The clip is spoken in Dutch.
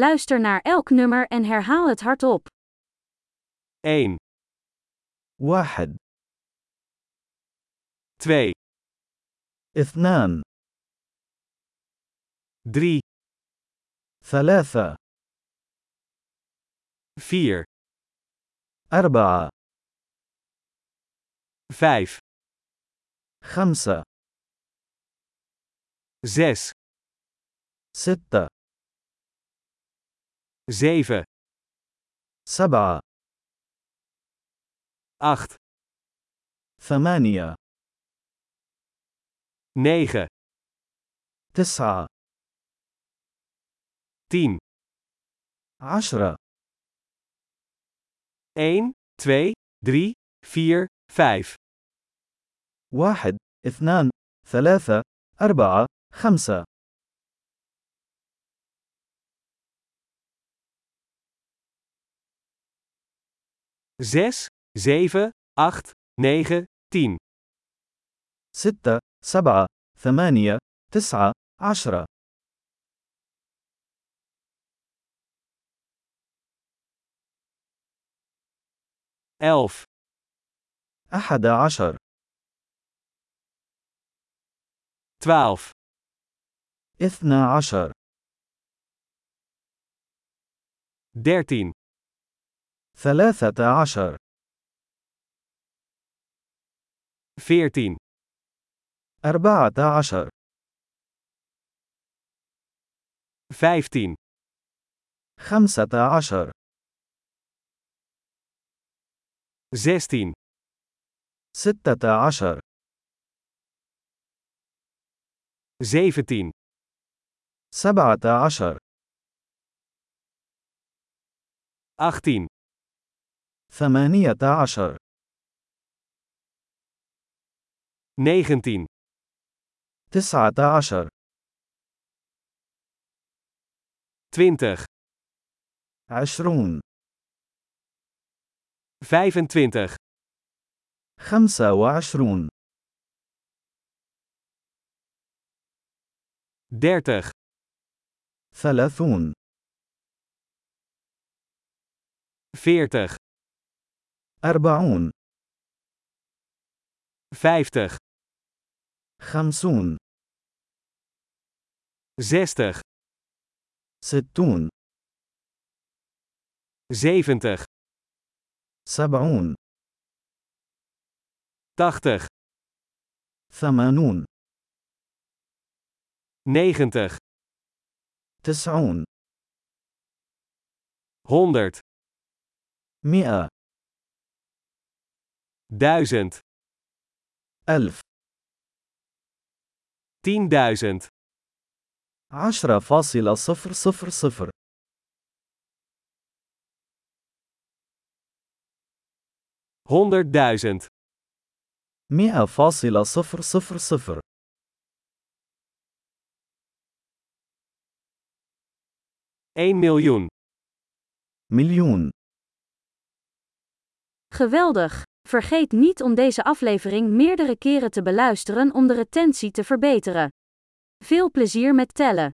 Luister naar elk nummer en herhaal het hardop. 1, واحد 2, اثنان 3, ثلاثة 4, أربعة 5, خمسة 6, ستة 7, سبعة 8, ثمانية 9, تسعة 10, عشرة 1, 2, 3, 4, 5, واحد اثنان ثلاثة أربعة خمسة 6, 7, 8, 9, 10, ستة سبعة ثمانية تسعة عشرة 11, أحد عشر 12, اثنى عشر 13, ثلاثة عشر 14, أربعة عشر 15, خمسة عشر 16, ستة عشر 17, سبعة عشر 18, ثمانية عشر 19, تسعة عشر 20, عشرون 25, خمسة وعشرون 30, ثلاثون 40, أربعون 50, خمسون 60, ستون 70, سبعون 80, ثمانون 90, تسعون 100, مئة 1000, ألف 10.000, عشرة فاصلة صفر صفر صفر 100.000, مئة فاصلة صفر صفر صفر 1 miljoen. مليون Geweldig! Vergeet niet om deze aflevering meerdere keren te beluisteren om de retentie te verbeteren. Veel plezier met tellen!